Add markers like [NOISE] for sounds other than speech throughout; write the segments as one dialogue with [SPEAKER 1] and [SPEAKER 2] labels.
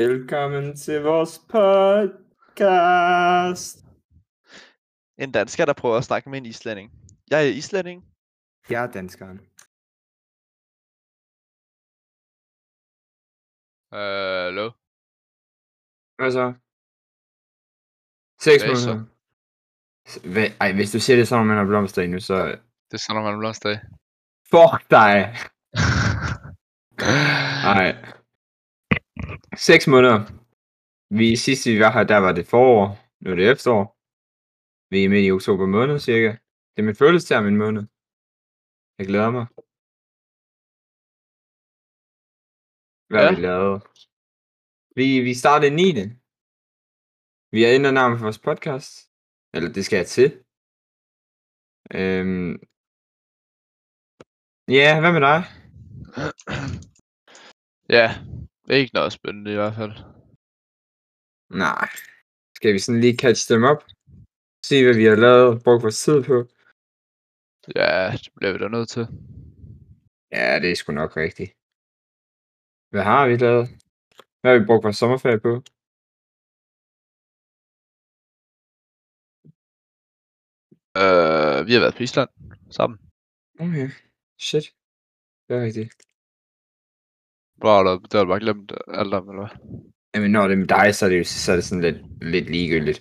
[SPEAKER 1] Velkommen til vores podcast.
[SPEAKER 2] En dansker, der prøver at snakke med en islænding. Jeg er islænding.
[SPEAKER 1] Jeg er danskeren.
[SPEAKER 3] Hallo?
[SPEAKER 1] Hvad så? 6
[SPEAKER 3] Hvad så?
[SPEAKER 1] måneder. Hvad? Ej, hvis du siger det sådan, man har blomster endnu, så...
[SPEAKER 3] Det er sådan, man blomst dag.
[SPEAKER 1] Fuck dig! Nej. 6 måneder. Vi sidste vi var her, der var det forår. Nu er det efterår. Vi er midt i oktober måned cirka. Det er min følelse min måned. Jeg glæder mig. Hvad ja.
[SPEAKER 3] Ja.
[SPEAKER 1] vi lavet? Vi, vi startede 9. Vi har ændret navnet for vores podcast. Eller det skal jeg til. Øhm. Ja, hvad med dig?
[SPEAKER 3] ja, ikke noget spændende i hvert fald.
[SPEAKER 1] Nej. Skal vi sådan lige catch dem op? Se, hvad vi har lavet, brugt vores tid på.
[SPEAKER 3] Ja, det bliver vi da nødt til.
[SPEAKER 1] Ja, det er sgu nok rigtigt. Hvad har vi lavet? Hvad har vi brugt vores sommerferie på?
[SPEAKER 3] Øh, vi har været på Island sammen.
[SPEAKER 1] Okay. Shit. Det er rigtigt.
[SPEAKER 3] Hvor har du- det har du bare glemt alt om, eller hvad?
[SPEAKER 1] Jamen, når det er med dig, så er det, jo- så er det sådan lidt, lidt ligegyldigt.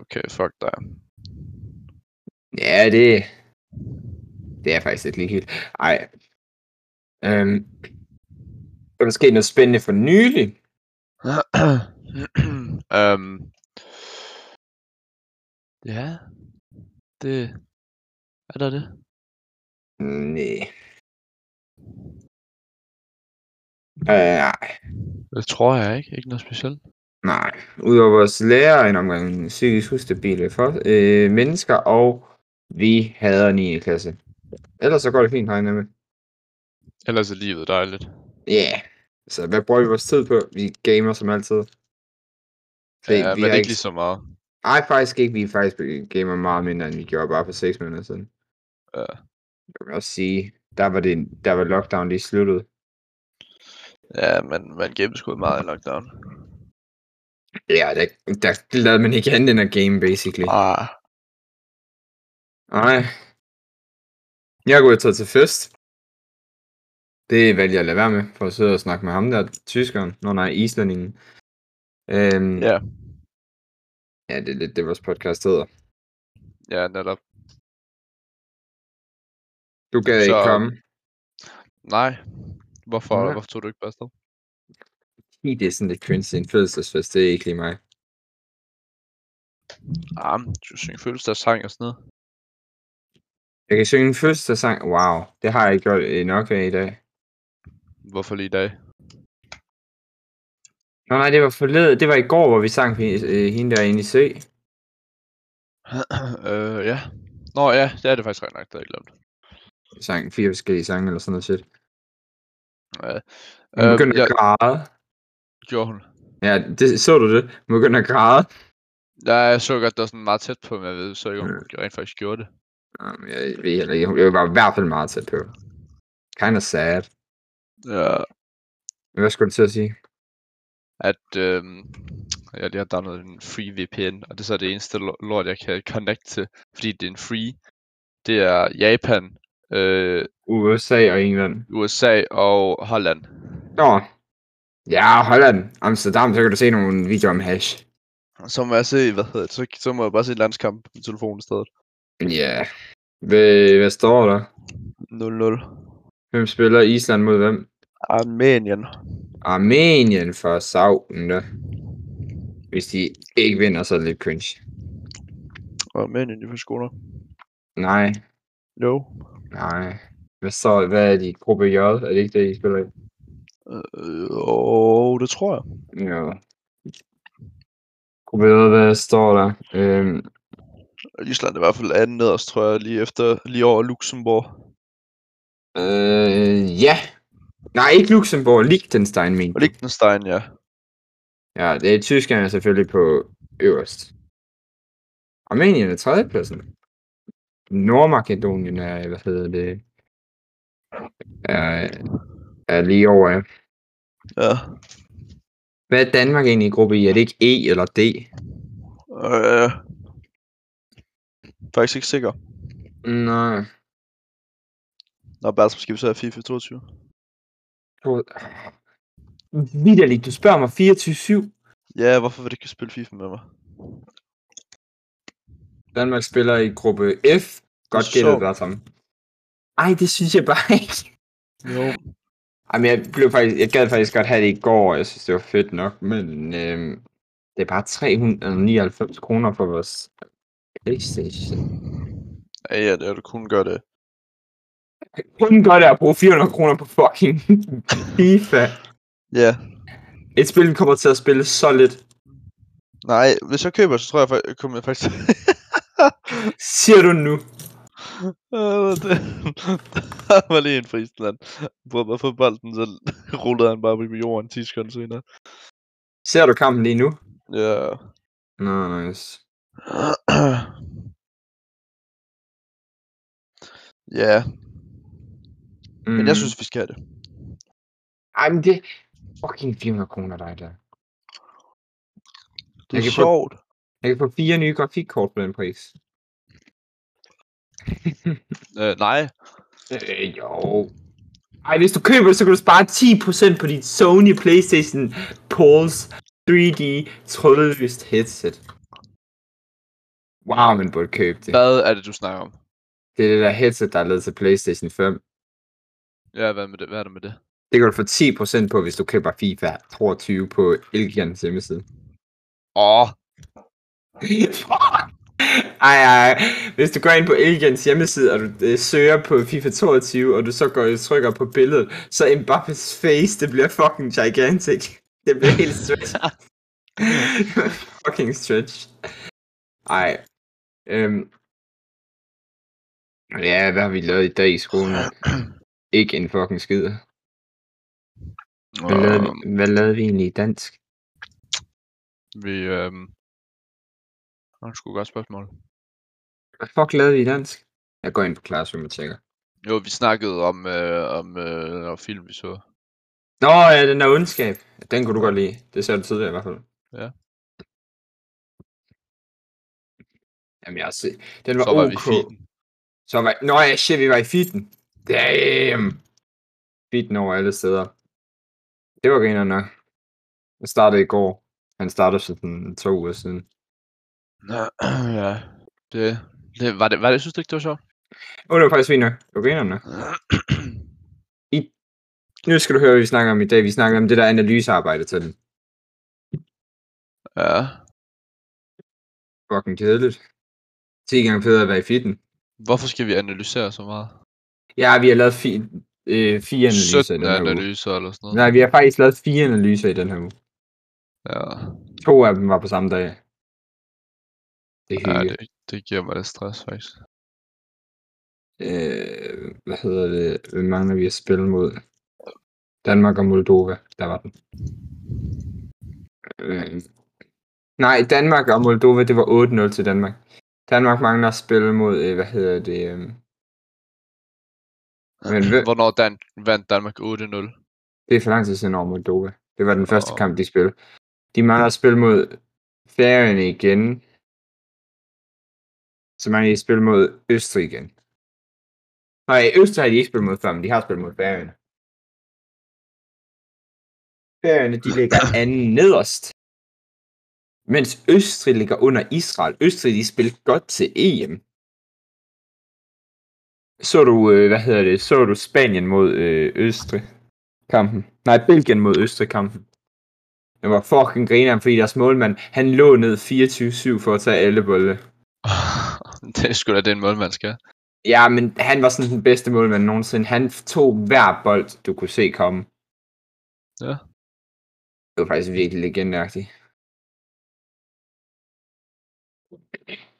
[SPEAKER 3] Okay, fuck dig. [CLEARS THROAT]
[SPEAKER 1] Ja, det... Det er faktisk lidt ligegyldigt. Ej. Øhm. Der er sket noget spændende for nylig.
[SPEAKER 3] øhm, ja, det... Er der det?
[SPEAKER 1] Nej. Øh, nej.
[SPEAKER 3] Det tror jeg ikke. Ikke noget specielt.
[SPEAKER 1] Nej. Udover vores lærer, en omgang psykisk ustabile for, øh, mennesker, og vi hader 9. klasse. Ellers så går det fint, regner jeg med.
[SPEAKER 3] Ellers er livet dejligt.
[SPEAKER 1] Ja. Yeah. Så hvad bruger vi vores tid på? Vi gamer som altid.
[SPEAKER 3] Det, ja,
[SPEAKER 1] vi
[SPEAKER 3] men
[SPEAKER 1] har
[SPEAKER 3] ikke ligesom- lige så meget.
[SPEAKER 1] Ej, faktisk ikke. Vi er faktisk be- gamer meget mindre, end vi gjorde bare for 6 måneder siden.
[SPEAKER 3] Ja.
[SPEAKER 1] Jeg vil også sige, der var, det, der var lockdown lige sluttet.
[SPEAKER 3] Ja, men man gennemskudde meget i lockdown.
[SPEAKER 1] Ja, der, der lavede man ikke andet end at game, basically.
[SPEAKER 3] Ah,
[SPEAKER 1] Nej. Jeg er gået taget til fest. Det valgte jeg at lade være med, for at sidde og snakke med ham der, tyskeren. Nå nej, islændingen. Øhm,
[SPEAKER 3] Ja.
[SPEAKER 1] Ja, det er lidt det, vores podcast hedder.
[SPEAKER 3] ja, netop.
[SPEAKER 1] Du kan så... ikke
[SPEAKER 3] Så-
[SPEAKER 1] komme.
[SPEAKER 3] Nej. Hvorfor,
[SPEAKER 1] Nej.
[SPEAKER 3] ja. hvorfor tog du ikke bare afsted?
[SPEAKER 1] Fordi Det er sådan lidt cringe, det er en fødselsdagsfest, det er ikke lige mig.
[SPEAKER 3] Ah, men du synger fødselsdagssang og sådan noget.
[SPEAKER 1] Jeg kan synge en fødselsdagssang. Wow, det har jeg ikke gjort øh, nok af i dag.
[SPEAKER 3] Hvorfor lige i dag?
[SPEAKER 1] Nå nej, det var forleden. Det var i går, hvor vi sang øh, hende derinde i sø.
[SPEAKER 3] [CLEARS THROAT] øh, ja. Nå ja, det er det faktisk ret nok, det havde jeg glemt.
[SPEAKER 1] Vi sang fire forskellige sange eller sådan noget shit.
[SPEAKER 3] Ja.
[SPEAKER 1] Hun
[SPEAKER 3] Øhm,
[SPEAKER 1] begyndte
[SPEAKER 3] jeg,
[SPEAKER 1] at græde.
[SPEAKER 3] gjorde hun.
[SPEAKER 1] Ja, det, så du det? Hun begyndte at græde.
[SPEAKER 3] Ja, jeg så godt, det var sådan meget tæt på, men jeg ved så ikke, om
[SPEAKER 1] Ja.
[SPEAKER 3] hun rent faktisk gjorde det.
[SPEAKER 1] Jamen, jeg ved heller ikke. Jeg var i hvert fald meget tæt på. Kind of sad.
[SPEAKER 3] Ja,
[SPEAKER 1] Men Hvad skulle du til at sige?
[SPEAKER 3] at øhm, jeg lige har downloadet en free VPN, og det er så det eneste lo- lort, jeg kan connect til, fordi det er en free. Det er Japan, øh,
[SPEAKER 1] USA og England.
[SPEAKER 3] USA og Holland.
[SPEAKER 1] Nå. Ja, Holland. Amsterdam, så kan du se nogle videoer om hash.
[SPEAKER 3] Så må jeg se, hvad hedder det, så, så må jeg bare se landskamp på min telefon i stedet.
[SPEAKER 1] Ja. Hvad, hvad står der?
[SPEAKER 3] 0-0.
[SPEAKER 1] Hvem spiller Island mod hvem?
[SPEAKER 3] Armenien.
[SPEAKER 1] Armenien for savnen da. Hvis de ikke vinder, så er det lidt cringe.
[SPEAKER 3] Armenien, de får skoler.
[SPEAKER 1] Nej,
[SPEAKER 3] Jo.
[SPEAKER 1] nej. Hvad, så, hvad er de? Gruppe J? Er det ikke det, I spiller i?
[SPEAKER 3] Øh, og det tror jeg.
[SPEAKER 1] Ja. Gruppe J, hvad står der? Øhm,
[SPEAKER 3] Island er i hvert fald anden nederst, tror jeg, lige, efter, lige over Luxembourg.
[SPEAKER 1] Øh, ja. Nej, ikke Luxembourg, Liechtenstein, men.
[SPEAKER 3] Og Liechtenstein, ja.
[SPEAKER 1] Ja, det er Tyskland er selvfølgelig på øverst. Armenien er tredjepladsen. Nordmakedonien er, hvad hedder det, er, er lige over, ja.
[SPEAKER 3] Ja.
[SPEAKER 1] Hvad er Danmark egentlig i gruppe i? Er det ikke E eller D?
[SPEAKER 2] Øh, faktisk ikke sikker.
[SPEAKER 1] Nej.
[SPEAKER 2] Når verdensmandskabet så er FIFA 22.
[SPEAKER 1] Du... Vitterligt, du spørger mig 24-7.
[SPEAKER 2] Ja, hvorfor vil du ikke spille FIFA med mig?
[SPEAKER 1] Danmark spiller i gruppe F. Godt
[SPEAKER 2] Så-
[SPEAKER 1] gættet, der sammen. Ej, det synes jeg bare ikke.
[SPEAKER 2] Jo.
[SPEAKER 1] Jamen, jeg, blev faktisk, jeg gad faktisk godt have det i går, og jeg synes, det var fedt nok, men øh, det er bare 399 kroner for vores Playstation.
[SPEAKER 2] Ja, ja, det er du kun gør det.
[SPEAKER 1] Kun godt er at bruge 400 kroner på fucking [LAUGHS] FIFA.
[SPEAKER 2] Ja.
[SPEAKER 1] Et spil, vi kommer til at spille så lidt.
[SPEAKER 2] Nej, hvis jeg køber, så tror jeg, fa- jeg kommer faktisk... [LAUGHS]
[SPEAKER 1] Siger du nu?
[SPEAKER 2] Øh, det... der var lige en fra Island. Hvor man får bolden, så rullede han bare på jorden 10 sekunder senere.
[SPEAKER 1] Ser du kampen lige nu?
[SPEAKER 2] Ja. [CLEARS THROAT]
[SPEAKER 1] Nå, nice.
[SPEAKER 2] ja,
[SPEAKER 1] Mm.
[SPEAKER 2] men jeg synes, vi skal have det.
[SPEAKER 1] Ej, men det... Fucking 400 kroner, dig der.
[SPEAKER 2] Det
[SPEAKER 1] Jeg
[SPEAKER 2] er
[SPEAKER 1] kan få-
[SPEAKER 2] sjovt.
[SPEAKER 1] Jeg kan få fire nye grafikkort på den pris.
[SPEAKER 3] Øh, nej.
[SPEAKER 1] Øh, jo. Ej, hvis du køber det, så kan du spare 10% på dit Sony Playstation Pulse 3D trådløst headset. Wow, man burde købe det.
[SPEAKER 3] Hvad er det, du snakker om?
[SPEAKER 1] Det er det der headset, der er lavet til Playstation 5.
[SPEAKER 3] Ja, hvad, med det? hvad er det med det?
[SPEAKER 1] Det kan du få 10% på, hvis du køber FIFA 22 på Elgians hjemmeside.
[SPEAKER 3] Åh,
[SPEAKER 1] [LAUGHS] Ej, ej, hvis du går ind på Elgians hjemmeside, og du øh, søger på FIFA 22, og du så går og trykker på billedet, så Mbappes face, det bliver fucking gigantic. Det bliver helt stretch. [LAUGHS] fucking stretch. Ej. Øhm. Ja, hvad har vi lavet i dag i skolen? Ikke en fucking skid. Hvad lavede,
[SPEAKER 3] øh,
[SPEAKER 1] vi, hvad lavede vi egentlig i dansk?
[SPEAKER 3] vi... Øh... Det er sgu et godt spørgsmål.
[SPEAKER 1] Hvad fuck lavede vi i dansk? Jeg går ind på Classroom og tjekker.
[SPEAKER 3] Jo, vi snakkede om, øh, om øh, om film, vi så.
[SPEAKER 1] Nå ja, den der ondskab. Den kunne du godt lide. Det sagde du tidligere i hvert fald.
[SPEAKER 3] Ja.
[SPEAKER 1] Jamen jeg har set. Den var,
[SPEAKER 3] så var vi
[SPEAKER 1] ok.
[SPEAKER 3] fint.
[SPEAKER 1] Så var... Nå ja, shit, vi var i feeden. Damn. Feeden over alle steder. Det var griner nok. Jeg startede i går. Han startede for sådan to uger siden.
[SPEAKER 3] Nå,
[SPEAKER 1] [CLEARS THROAT]
[SPEAKER 3] ja, det, det, var det, var det, synes du ikke, det var
[SPEAKER 1] [CLEARS THROAT]
[SPEAKER 3] sjovt?
[SPEAKER 1] Åh, oh, det var faktisk fint nok. Det var griner nok. Nu skal du høre, hvad vi snakker om i dag. Vi snakker om det der analysearbejde til den.
[SPEAKER 3] ja.
[SPEAKER 1] Fucking kedeligt. 10 gange federe at være i feeden.
[SPEAKER 3] Hvorfor skal vi analysere så meget?
[SPEAKER 1] Ja, vi har lavet fi, øh, fire analyser i
[SPEAKER 3] 17
[SPEAKER 1] den her uge.
[SPEAKER 3] analyser eller sådan noget.
[SPEAKER 1] Nej, vi har faktisk lavet fire analyser i den her uge.
[SPEAKER 3] Ja,
[SPEAKER 1] To af dem var på samme dag. Det er
[SPEAKER 3] ja
[SPEAKER 1] hyggeligt.
[SPEAKER 3] det, det giver mig lidt stress, faktisk.
[SPEAKER 1] Øh, hvad hedder det? Hvem mangler vi at spille mod? Danmark og Moldova. Der var den. Øh. Nej, Danmark og Moldova, det var 8-0 til Danmark. Danmark mangler at spille mod, øh, hvad hedder det? Øh... Men hvem?
[SPEAKER 3] Hvornår Dan, vandt Danmark 8-0?
[SPEAKER 1] Det er for lang tid siden over Moldova. Det var den første
[SPEAKER 3] Åh.
[SPEAKER 1] kamp, de spillede. De mangler at spille mod Færøerne igen. Så mangler de at spille mod Østrig igen. Nej, Østrig har de ikke spillet mod før, men de har spillet mod Færøerne. Færøerne, de ligger anden nederst. Mens Østrig ligger under Israel. Østrig, de spillede godt til EM. Så du, øh, hvad hedder det, så du Spanien mod øh, Østrig? kampen. Nej, Belgien mod Østrig kampen. Det var fucking grineren, fordi deres målmand, han lå ned 24-7 for at tage alle bolde.
[SPEAKER 3] [LAUGHS] det er sgu da den målmand skal.
[SPEAKER 1] Ja, men han var sådan den bedste målmand nogensinde. Han tog hver bold, du kunne se komme.
[SPEAKER 3] Ja.
[SPEAKER 1] Det var faktisk virkelig legendagtigt.
[SPEAKER 3] [CLEARS THROAT]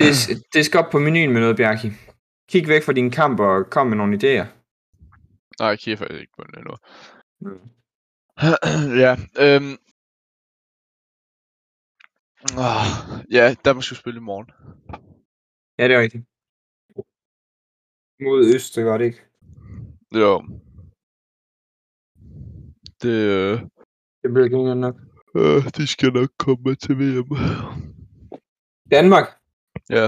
[SPEAKER 1] Det, det skal op på menuen med noget, Bjarki. Kig væk fra din kamp og kom med nogle idéer.
[SPEAKER 3] Nej, jeg kigger faktisk ikke på den endnu.
[SPEAKER 1] Mm.
[SPEAKER 3] [CLEARS THROAT] ja, øhm. Oh, ja, Danmark skulle spille i morgen.
[SPEAKER 1] Ja, det er rigtigt. Mod Østrig var det ikke.
[SPEAKER 3] Jo. Det, øh,
[SPEAKER 1] Det bliver ikke nok.
[SPEAKER 2] Øh, de skal nok komme med til VM.
[SPEAKER 1] Danmark?
[SPEAKER 3] Ja.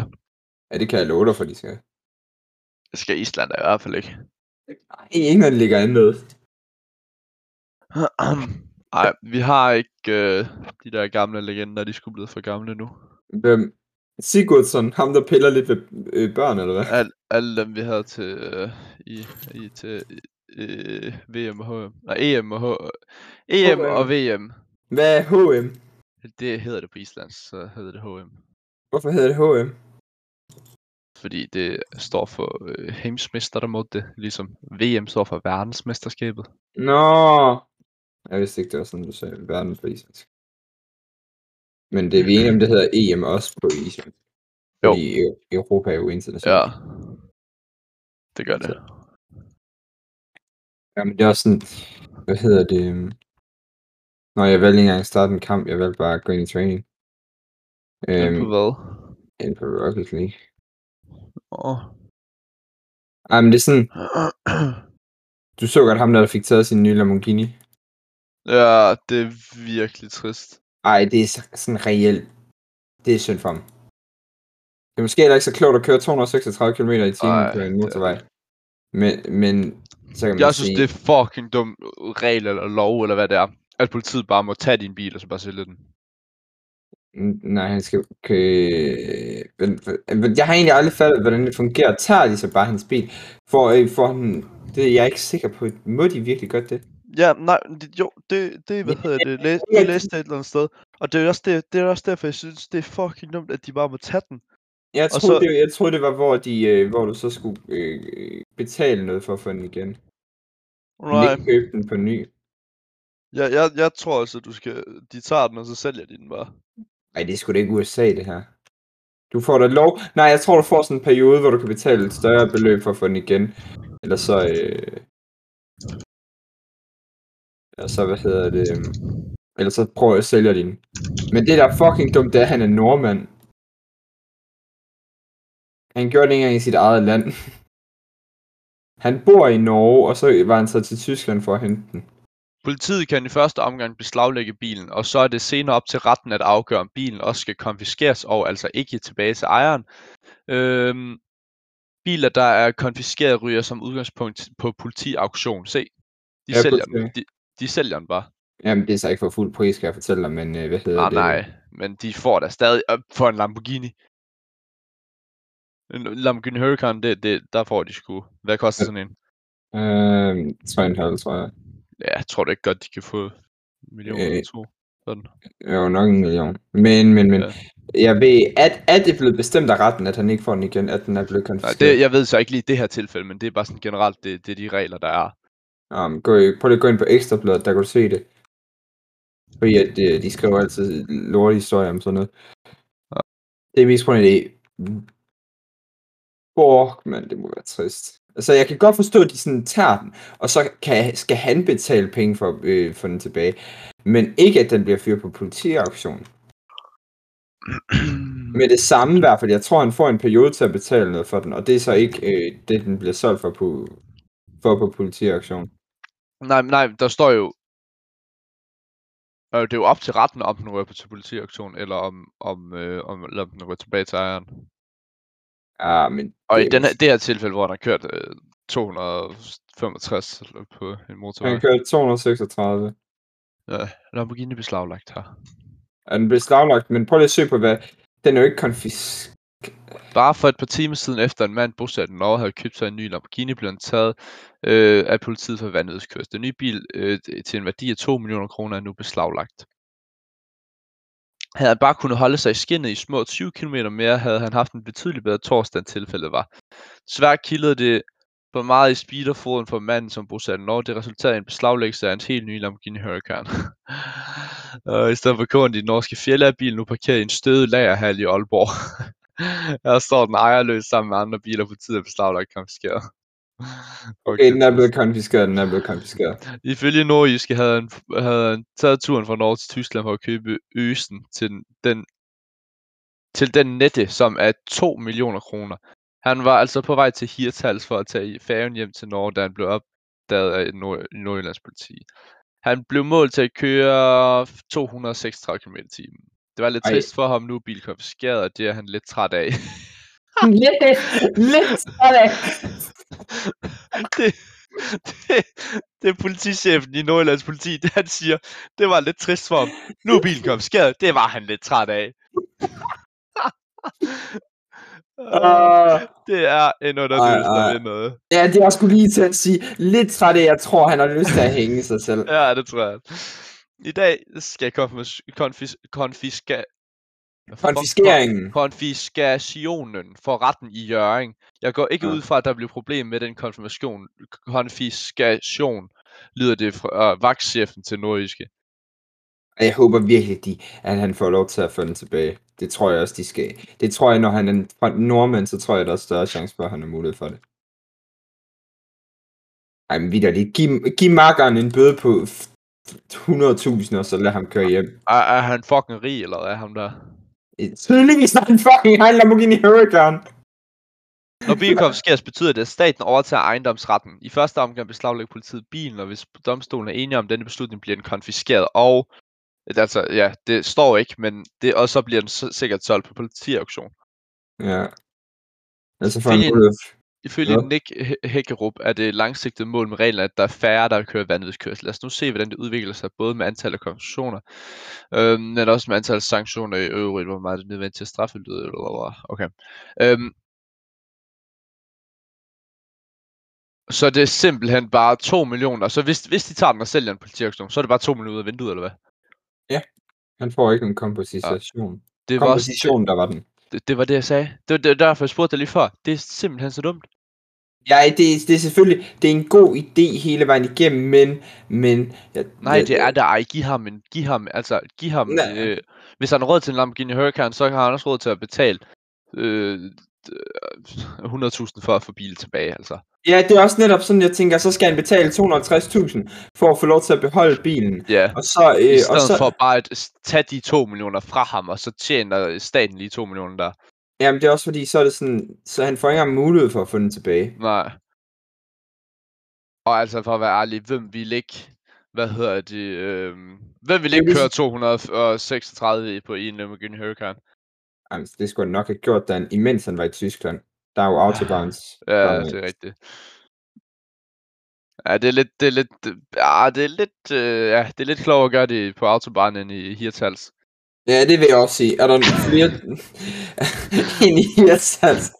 [SPEAKER 1] Ja, det kan jeg love dig for, de skal.
[SPEAKER 3] Det skal Island da i hvert fald ikke. [CLEARS THROAT]
[SPEAKER 1] Nej, ikke når de ligger andet. med.
[SPEAKER 3] Nej, vi har ikke øh, de der gamle legender, de er sgu blevet for gamle nu.
[SPEAKER 1] Hvem? Sigurdsson, ham der piller lidt ved øh, børn, eller hvad?
[SPEAKER 3] Al, alle dem, vi havde til, øh, i, i, til øh, VM og HM. Nej, EM og H... EM og VM.
[SPEAKER 1] Hvad er HM?
[SPEAKER 3] Det hedder det på Islands, så hedder det HM.
[SPEAKER 1] Hvorfor hedder det HM?
[SPEAKER 3] Fordi det står for øh, heimsmester, der mod det. Ligesom VM står for verdensmesterskabet.
[SPEAKER 1] Nå. Jeg vidste ikke, det var sådan, du sagde verden på islandsk. Men det er vi enige om, det hedder EM også på islandsk.
[SPEAKER 3] Jo.
[SPEAKER 1] Fordi Eu- Europa er jo internationalt.
[SPEAKER 3] Ja. Det gør det.
[SPEAKER 1] Ja, men det er også sådan, hvad hedder det? øhm, Når jeg valgte ikke engang at starte en kamp, jeg valgte bare at gå ind i træning.
[SPEAKER 3] Øhm. På
[SPEAKER 1] Øhm,
[SPEAKER 3] hvad?
[SPEAKER 1] ind på Rocket League.
[SPEAKER 3] Åh.
[SPEAKER 1] Ej, men det er sådan, du så godt ham, der fik taget sin nye Lamborghini.
[SPEAKER 3] ja, det er virkelig trist.
[SPEAKER 1] Ej, det er så- sådan reelt. Det er synd for ham. Det er måske heller ikke så klogt at køre 236 km i timen
[SPEAKER 3] Ej,
[SPEAKER 1] på en
[SPEAKER 3] det-
[SPEAKER 1] motorvej. Men, men så kan man
[SPEAKER 3] Jeg synes,
[SPEAKER 1] sige,
[SPEAKER 3] det er fucking dum regel eller lov, eller hvad det er. At politiet bare må tage din bil, og så bare sælge den.
[SPEAKER 1] N- Nej, han skal køre... Men- men Jeg har egentlig aldrig fattet, hvordan det fungerer. Tager de så bare hans bil? For, øh, for han... Det er jeg ikke sikker på. Må de virkelig godt det?
[SPEAKER 2] Ja, nej, men det, jo, det, det hvad
[SPEAKER 1] Men-
[SPEAKER 2] hedder det, læs,
[SPEAKER 1] jeg-
[SPEAKER 2] jeg læste det et eller andet sted. Og det er, også det, det er også derfor, jeg synes, det er fucking dumt, at de bare må tage den.
[SPEAKER 1] Jeg
[SPEAKER 2] Og
[SPEAKER 1] troede,
[SPEAKER 2] så-
[SPEAKER 1] det, jeg troede, det var, hvor, de, øh, hvor du så skulle øh, betale noget for at få den igen. Men
[SPEAKER 2] Nej,
[SPEAKER 1] ikke købe den på ny.
[SPEAKER 2] jeg, jeg, jeg tror altså, du skal, de tager den, og så sælger de den bare.
[SPEAKER 1] Nej, det er sgu da ikke USA, det her. Du får da lov... Nej, jeg tror, du får sådan en periode, hvor du kan betale et større beløb for at få den igen. Eller så... Øh... Eller så, hvad hedder det... øhm, Eller så prøver jeg at sælge din. Men det, der er fucking dumt, det er, at han er nordmand. Han gjorde det ikke engang i sit eget land. [LAUGHS] Han bor i Norge, og så var han taget til Tyskland for at hente den.
[SPEAKER 3] Politiet kan i første omgang beslaglægge bilen, og så er det senere op til retten at afgøre, om bilen også skal konfiskeres og altså ikke tilbage til ejeren. Øhm, biler, der er konfiskeret, ryger som udgangspunkt på politiauktion. Se, de,
[SPEAKER 1] Ja,
[SPEAKER 3] sælger, dem.
[SPEAKER 1] fuldstændig.
[SPEAKER 3] de, de sælger den bare.
[SPEAKER 1] Jamen, det er så ikke for fuld pris, kan jeg fortælle dig, men øh, hvad hedder
[SPEAKER 3] Ah,
[SPEAKER 1] det?
[SPEAKER 3] nej, men de får da stadig op for en Lamborghini. En Lamborghini Huracan, det, det, der får de sgu. Hvad koster sådan en?
[SPEAKER 1] Øh, 3,5, tror jeg.
[SPEAKER 3] Ja, jeg tror da ikke godt, de kan få en million
[SPEAKER 1] Øh,
[SPEAKER 3] eller to.
[SPEAKER 1] Jo, nok en million. Men, men, men.
[SPEAKER 3] Ja.
[SPEAKER 1] Ja. Jeg ved, at, at det er blevet bestemt af retten, at han ikke får den igen, at den er blevet
[SPEAKER 3] Nej,
[SPEAKER 1] konfiskeret.
[SPEAKER 3] det, jeg ved så ikke lige i det her tilfælde, men det er bare sådan generelt, det, det er de regler, der er.
[SPEAKER 1] Um, gå, i- prøv lige at gå ind på Ekstrabladet, der kan du se det. Fordi at, øh, de skriver altid lorte historier om sådan noget.
[SPEAKER 3] Ja.
[SPEAKER 1] Det er mest på en idé. Fuck, mand, det må være trist. Altså, jeg kan godt forstå, at de sådan tager den, og så kan, skal han betale penge for, øh, for den tilbage. Men ikke, at den bliver fyret på politiauktionen.
[SPEAKER 3] Mm.
[SPEAKER 1] Med det samme i hvert fald. Jeg tror, han får en periode til at betale noget for den, og det er så ikke øh, det, den bliver solgt for på, for på politiauktion.
[SPEAKER 3] [CLEARS THROAT] Nej, men nej, der står jo... Øh, det er jo op til retten, om den rører på til politiaktion, eller om, om, øh, om, eller om den rører tilbage til ejeren.
[SPEAKER 1] Ja, men
[SPEAKER 3] Og i
[SPEAKER 1] det, er
[SPEAKER 3] den her, det her tilfælde, hvor han har kørt øh, 265 eller på en motorvej,
[SPEAKER 1] Han kørte 236.
[SPEAKER 3] Lamborghini beslaglagt her.
[SPEAKER 1] Er den blev slaglagt, men prøv lige at søge på, hvad... Den er jo ikke konfisk.
[SPEAKER 3] Bare for et par timer siden efter en mand bosat i Norge havde købt sig en ny Lamborghini, blev han taget øh, af politiet for vanvidskørsel. Den nye bil øh, t- til en værdi af 2 millioner kroner er nu beslaglagt. Havde han bare kunnet holde sig i skinnet i små 20 km mere, havde han haft en betydelig bedre torsdag, end tilfældet var. Svært kildede det for meget i speederfoden for manden, som bosat i Norge. Det resulterede i en beslaglæggelse af hans helt nye Lamborghini Huracan. [LAUGHS] og i stedet for kåren i den norske fjelle er bilen nu parkeret i en stødet lagerhal i Aalborg. [LAUGHS] Her står den ejerløs sammen med andre biler på tid af beslag, der ikke konfiskeret. [LAUGHS]
[SPEAKER 1] Okay, den er blevet konfiskeret, den er blevet konfiskeret.
[SPEAKER 3] Ifølge Nordjyske havde han, havde han taget turen fra Norge til Tyskland for at købe øsen til den, den, til den nette, som er 2 millioner kroner. Han var altså på vej til Hirtals for at tage i færgen hjem til Norge, da han blev opdaget af Nord- Nordjyllands politi. Han blev målt til at køre 236 km t Det var lidt
[SPEAKER 1] Ej.
[SPEAKER 3] trist for ham nu, er bilen konfiskeret, og det er han lidt træt af.
[SPEAKER 4] [LAUGHS] Lidt, lidt sådan.
[SPEAKER 3] [LAUGHS]
[SPEAKER 2] det, det, det er politichefen i Nordjyllands politi, [LAUGHS] det han siger, det var lidt trist for ham. Nu er bilen kommet skadet, det var han lidt træt
[SPEAKER 1] [LAUGHS]
[SPEAKER 2] af. Øh,
[SPEAKER 4] Uh,
[SPEAKER 2] det er en underdrivelse,
[SPEAKER 1] ej.
[SPEAKER 2] der ved noget.
[SPEAKER 4] ja, det var sgu lige til at sige. Lidt træt af, jeg tror, han har lyst til at hænge sig selv.
[SPEAKER 2] Ja, det tror jeg. I dag skal konfis, konfis, konfiska, Hvad fuck?
[SPEAKER 1] Konfiskeringen.
[SPEAKER 3] konfiskationen for retten i Jøring. Jeg går ikke
[SPEAKER 1] Ja.
[SPEAKER 3] ud fra, at der bliver problem med den konfirmation. konfiskation, lyder det fra øh, vagtchefen til nordjyske.
[SPEAKER 1] Og Jeg håber virkelig, de, at han får lov til at få den tilbage. Det tror jeg også, de skal. Det tror jeg, når han er fra nordmænd, så tror jeg, der er større chance for, at han har mulighed for det. Ej, men vidderligt. Giv, giv makkeren en bøde på f- f- 100.000, og så lad ham køre hjem.
[SPEAKER 3] Er, er han fucking rig, eller er ham der?
[SPEAKER 1] Øh, Tydeligvis, når han fucking har en Lamborghini Huracan.
[SPEAKER 3] Når bilen konfiskeres, betyder det, at staten overtager ejendomsretten. I første omgang beslaglægger politiet bilen, og hvis domstolen er enige om denne beslutning, bliver den konfiskeret. Og, altså, ja, det står ikke, men det, og så bliver den s- sikkert solgt på politiauktion.
[SPEAKER 1] Ja. Altså for en
[SPEAKER 3] Fint.
[SPEAKER 1] bøde. f-
[SPEAKER 3] Ifølge
[SPEAKER 1] Ja.
[SPEAKER 3] ja. Nick Hæ- Hækkerup er det langsigtede mål med reglen, at der er færre, der kører vanvidskørsel. Lad os nu se, hvordan det udvikler sig, både med antallet af konventioner, øhm, men også med antallet af sanktioner i øvrigt, hvor meget det er nødvendigt til at straffe lyder. blablabla. Okay. Øhm, så det er simpelthen bare 2 millioner. Så hvis, hvis de tager den og sælger en politiaktion, så er det bare 2 millioner ud af vinduet, eller hvad?
[SPEAKER 1] Han får ikke en komposition.
[SPEAKER 3] Det var, også,
[SPEAKER 1] Komposition, der var den.
[SPEAKER 3] det, det, var det, jeg sagde. Det var det, var derfor, jeg spurgte dig lige før. Det er simpelthen så dumt.
[SPEAKER 1] Ja, det, det er selvfølgelig det er en god idé hele vejen igennem, men... men jeg,
[SPEAKER 3] Nej, det er der ej. Giv ham en, giv ham, altså, giv ham,
[SPEAKER 1] Nej.
[SPEAKER 3] øh, hvis han har råd til en Lamborghini Huracan, så har han også råd til at betale øh, d- 100.000 for at få bilen tilbage, altså.
[SPEAKER 1] Ja, det er også netop sådan, jeg tænker, så skal han betale 250.000 for at få lov til at beholde bilen.
[SPEAKER 3] Ja,
[SPEAKER 1] Og så, øh,
[SPEAKER 3] i
[SPEAKER 1] og
[SPEAKER 3] stedet
[SPEAKER 1] så,
[SPEAKER 3] så... for bare at s- tage de 2 millioner fra ham, og så tjener staten lige 2 millioner der.
[SPEAKER 1] jamen det er også fordi, så er det sådan, så han får ikke engang mulighed for at få den tilbage.
[SPEAKER 3] Nej. Og altså, for at være ærlig, hvem vil ikke, hvad hedder det, øh, hvem vil
[SPEAKER 1] er
[SPEAKER 3] ikke
[SPEAKER 1] ligesom-
[SPEAKER 3] køre 236 på en Lamborghini Huracan?
[SPEAKER 1] Jamen, det skulle han nok have gjort, da han, imens han var i Tyskland. Der er jo autobahns.
[SPEAKER 3] Ja, det er rigtigt. Ja, det er lidt, det er lidt, øh, ja, det er lidt, øh, ja, det er lidt klogere at gøre det på autobahn end i Hirtals.
[SPEAKER 1] ja, det vil jeg også sige. Er der flere... [LAUGHS] en i Hirtshals.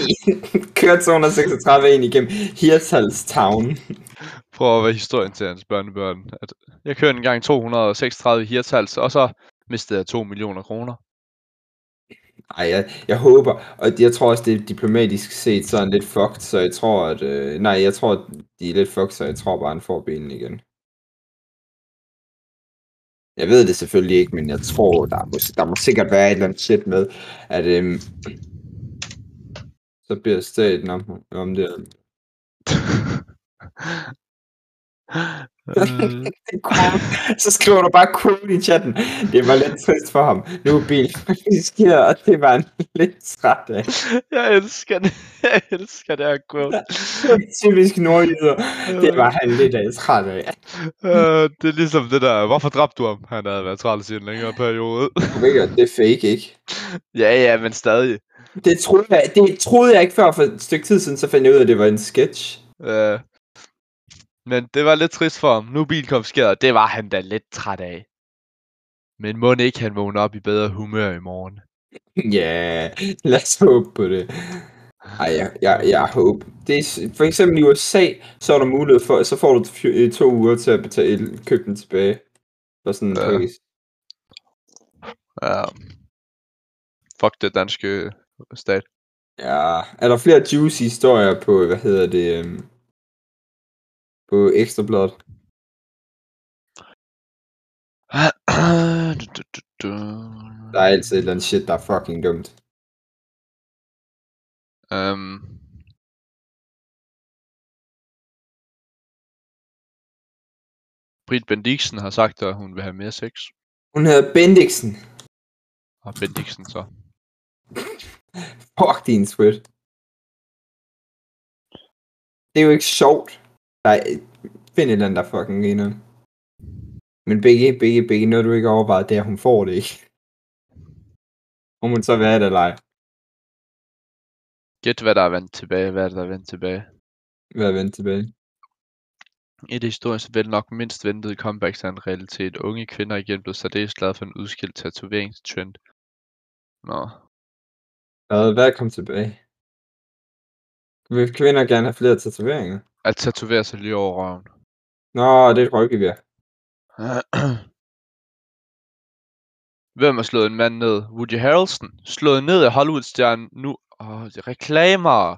[SPEAKER 1] [LAUGHS] Kører 236 en igennem Hirtshals Town.
[SPEAKER 3] Prøv at være historien til hans børnebørn. At jeg kørte engang 236 i Hirtals, og så mistede jeg 2 millioner kroner.
[SPEAKER 1] Ej, jeg, jeg håber, og jeg tror også, det er diplomatisk set sådan lidt fucked, så jeg tror, at... Øh, nej, jeg tror, at de er lidt fucked, så jeg tror bare, han får benen igen. Jeg ved det selvfølgelig ikke, men jeg tror, der må, der må sikkert være et eller andet shit med, at øhm, så bliver staten om, om det. [LAUGHS]
[SPEAKER 2] Mm.
[SPEAKER 3] [LAUGHS] Øh,
[SPEAKER 1] så skriver du bare quote i chatten. Det var lidt trist for ham. Nu er bilen konfiskeret, og det var han lidt træt af.
[SPEAKER 2] Jeg elsker
[SPEAKER 3] [LAUGHS]
[SPEAKER 2] det. Jeg elsker [LAUGHS] det her quote.
[SPEAKER 1] Typisk nordjyder. Det var han lidt af træt af.
[SPEAKER 2] Øh, det er ligesom det der, hvorfor dræbte du ham? Han havde været træls i en længere periode.
[SPEAKER 1] Du ved godt, det er fake, ikke?
[SPEAKER 2] ja, ja, men stadig.
[SPEAKER 1] Det troede, jeg, det troede jeg ikke før for et stykke tid siden, så fandt jeg ud af, at det var en sketch. [LAUGHS]
[SPEAKER 2] Øh,
[SPEAKER 3] Men det var lidt trist for ham. Nu er bilen konfiskeret, det var han da lidt træt af. Men må ikke han vågne op i bedre humør i morgen?
[SPEAKER 1] Ja, yeah, lad os håbe på det. Ej, jeg, jeg, jeg håber. Det er, s- for eksempel i USA, så er der mulighed for, så får du fj- øh, to uger til at betale, købe den tilbage. For sådan en
[SPEAKER 3] Ja.
[SPEAKER 1] pris.
[SPEAKER 3] Ja. Øh, Fuck det danske stat.
[SPEAKER 1] Ja, er der flere juicy historier på, hvad hedder det, øhm, på Ekstrabladet?
[SPEAKER 3] Du, du, du, du.
[SPEAKER 1] Der er altid et eller andet shit, der er fucking dumt.
[SPEAKER 3] Øhm. Britt Bendiksen har sagt, at hun vil have mere sex.
[SPEAKER 1] Hun hedder Bendiksen.
[SPEAKER 3] Og Bendiksen så.
[SPEAKER 1] Fuck din sweat. Det er jo ikke sjovt. Nej, find et eller andet, der fucking griner. Men begge, begge, begge, når du ikke overvejet, det er, at hun får det ikke. Hun må så være det eller ej.
[SPEAKER 3] Gæt, hvad der er vendt tilbage. Hvad er det, der er vendt tilbage?
[SPEAKER 1] Hvad er vendt tilbage?
[SPEAKER 3] Et af historiens vel nok mindst ventede comebacks er en realitet. Unge kvinder er igen blevet særdeles glade for en udskilt tatoveringstrend. Nå,
[SPEAKER 1] Hvad, hvad kom tilbage? Vil kvinder gerne have flere tatoveringer?
[SPEAKER 3] at tatovere sig lige over røven. [CLEARS THROAT]
[SPEAKER 1] Nå, det er et røggevær.
[SPEAKER 3] Hvem har slået en mand ned? Woody Harrelson. Slået ned af Hollywood-stjernen. Nu... Åh, det er reklamer.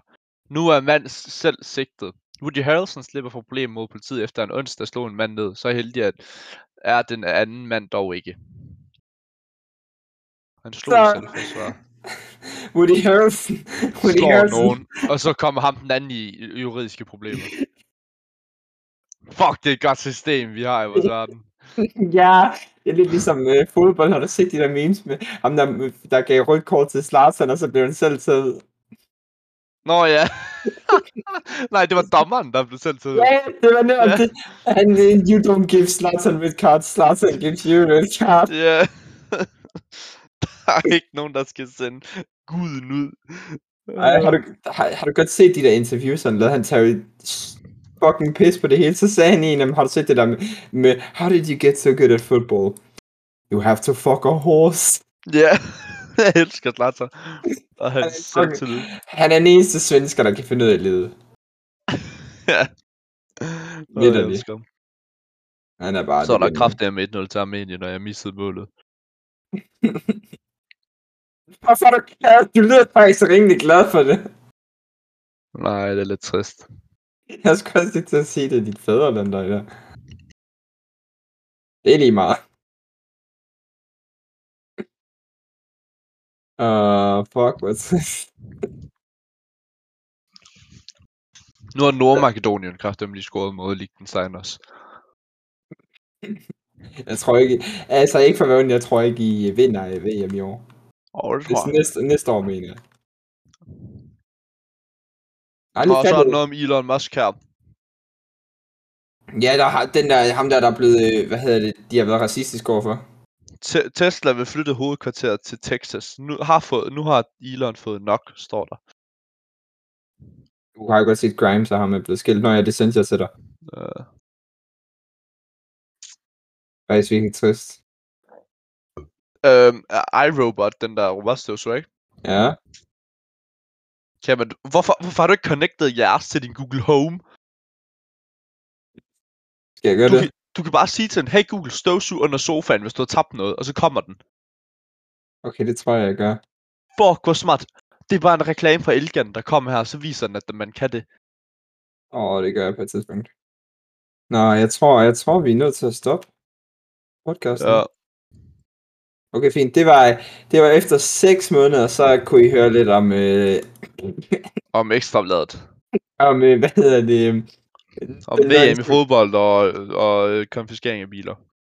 [SPEAKER 3] Nu er mand s- selv sigtet. Woody Harrelson slipper for problemer mod politiet efter en onsdag slog en mand ned. Så heldig at er den anden mand dog ikke. Han slog
[SPEAKER 1] Så-
[SPEAKER 3] så... selv forsvar.
[SPEAKER 1] Woody Harrelson. Woody
[SPEAKER 3] Slår
[SPEAKER 1] Harrelson.
[SPEAKER 3] nogen, og så kommer ham den anden i i juridiske problemer. Fuck, det er et godt system, vi har i vores verden.
[SPEAKER 1] ja, det er lidt ligesom øh, fodbold, har du set de der memes med ham, der, der gav rødt kort til Slatsen, og så blev han selv taget. ud?
[SPEAKER 3] Nå ja. [LAUGHS] Nej, det var dommeren, der blev selv taget. ud.
[SPEAKER 1] Ja, det var noget,
[SPEAKER 3] Ja.
[SPEAKER 1] det. Han, øh, you don't give Slatsen red card, Slatsen gives you red card.
[SPEAKER 3] Ja. [LAUGHS] der er ikke nogen, der skal sende guden ud.
[SPEAKER 1] Ej, har, du, har, har du godt set de der interviews, han lavede? Han tager jo s- fucking pis på det hele. Så sagde han en af dem, har du set det der med, med How did you get so good at football? You have to fuck a horse.
[SPEAKER 3] Ja. [LAUGHS] Jeg elsker Slatter. Og
[SPEAKER 1] er
[SPEAKER 3] hans
[SPEAKER 1] fucking-
[SPEAKER 3] selvtillid.
[SPEAKER 1] Han er den eneste svensker, der kan finde ud af livet.
[SPEAKER 3] Åh, jeg
[SPEAKER 1] Vitterlig.
[SPEAKER 3] elsker ham.
[SPEAKER 1] Han er bare...
[SPEAKER 3] Så er der
[SPEAKER 1] det-
[SPEAKER 3] kraftedeme med 1-0 til Armenien, når jeg missede målet.
[SPEAKER 1] Hvorfor er du glad? Du lyder faktisk rimelig glad for det.
[SPEAKER 3] Nej, det er lidt trist.
[SPEAKER 1] Jeg skulle også lige til at sige, det er dit fædreland, der er der. Det er lige meget. [LAUGHS] Uh, fuck, what's this?
[SPEAKER 3] Nu har Nordmakedonien kraftedeme lige scoret mod Liechtenstein også.
[SPEAKER 1] [LAUGHS] Jeg tror ikke, altså ikke for hvad, jeg tror ikke, I vinder i VM i år.
[SPEAKER 3] Åh, det
[SPEAKER 1] Hvis
[SPEAKER 3] tror jeg.
[SPEAKER 1] næste, næste år, mener jeg. Aldrig
[SPEAKER 3] Og så er der
[SPEAKER 1] fattet.
[SPEAKER 3] noget om Elon Musk her.
[SPEAKER 1] Ja, der har den der, ham der, der er blevet, øh, hvad hedder det, de har været racistiske overfor.
[SPEAKER 3] Te- Tesla vil flytte hovedkvarteret til Texas. Nu har, fået, nu har Elon fået nok, står der.
[SPEAKER 1] Du har jo godt set Grimes, der har med blevet skilt. Nå ja, det synes jeg til dig.
[SPEAKER 3] Uh,
[SPEAKER 1] Faktisk virkelig trist.
[SPEAKER 3] øhm, er iRobot, den der robotstøvsuger, ikke?
[SPEAKER 1] Ja.
[SPEAKER 3] Kan man, hvorfor, hvorfor har du ikke connectet jeres til din Google Home?
[SPEAKER 1] Skal jeg gøre
[SPEAKER 3] Du
[SPEAKER 1] det?
[SPEAKER 3] kan, du kan bare sige til den, hey Google, støvsug under sofaen, hvis du har tabt noget, og så kommer den.
[SPEAKER 1] Okay, det tror jeg, jeg gør.
[SPEAKER 3] Fuck, hvor smart. Det er bare en reklame fra Elgan, der kommer her, og så viser den, at man kan det.
[SPEAKER 1] Åh, oh, det gør jeg på et tidspunkt. Nå, jeg tror, jeg tror, vi er nødt til at stoppe podcasten.
[SPEAKER 3] Ja.
[SPEAKER 1] Okay, fint. Det var, det var efter 6 måneder, så kunne I høre lidt om, øh,
[SPEAKER 3] Om ekstrabladet.
[SPEAKER 1] om øh, hvad hedder det? øh,
[SPEAKER 3] Om
[SPEAKER 1] den
[SPEAKER 3] VM i
[SPEAKER 1] danske-
[SPEAKER 3] fodbold og, og øh, konfiskering af biler.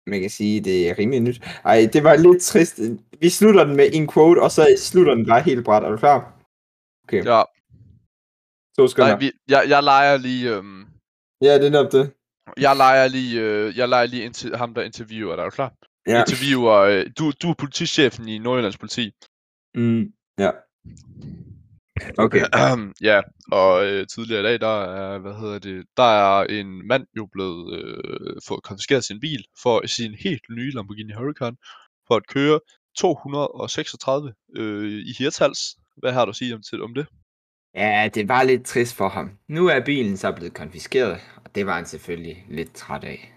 [SPEAKER 1] Man kan sige, det er rimelig nyt. Ej, det var lidt trist. Vi slutter den med en quote, og så slutter den bare helt bræt. Er du klar?
[SPEAKER 3] Ja,
[SPEAKER 1] To sekunder.
[SPEAKER 3] nej, vi, jeg, jeg leger lige... Øhm,
[SPEAKER 1] Ja, det er netop det.
[SPEAKER 3] Jeg leger lige, øh, jeg leger lige inter- ham, der interviewer dig, er du klar?
[SPEAKER 1] Ja.
[SPEAKER 3] Interviewer, øh, du, du er politichefen i Nordjyllands politi.
[SPEAKER 1] Mm, ja. Okay.
[SPEAKER 3] [CLEARS THROAT] ja, og øh, tidligere i dag, der er, hvad hedder det, der er en mand jo blevet øh, fået konfiskeret sin bil for sin helt nye Lamborghini Huracan for at køre 236 øh, i hirtals. Hvad har du at sige om, til, om det?
[SPEAKER 1] Ja, det var lidt trist for ham. Nu er bilen så blevet konfiskeret, og det var han selvfølgelig lidt træt af.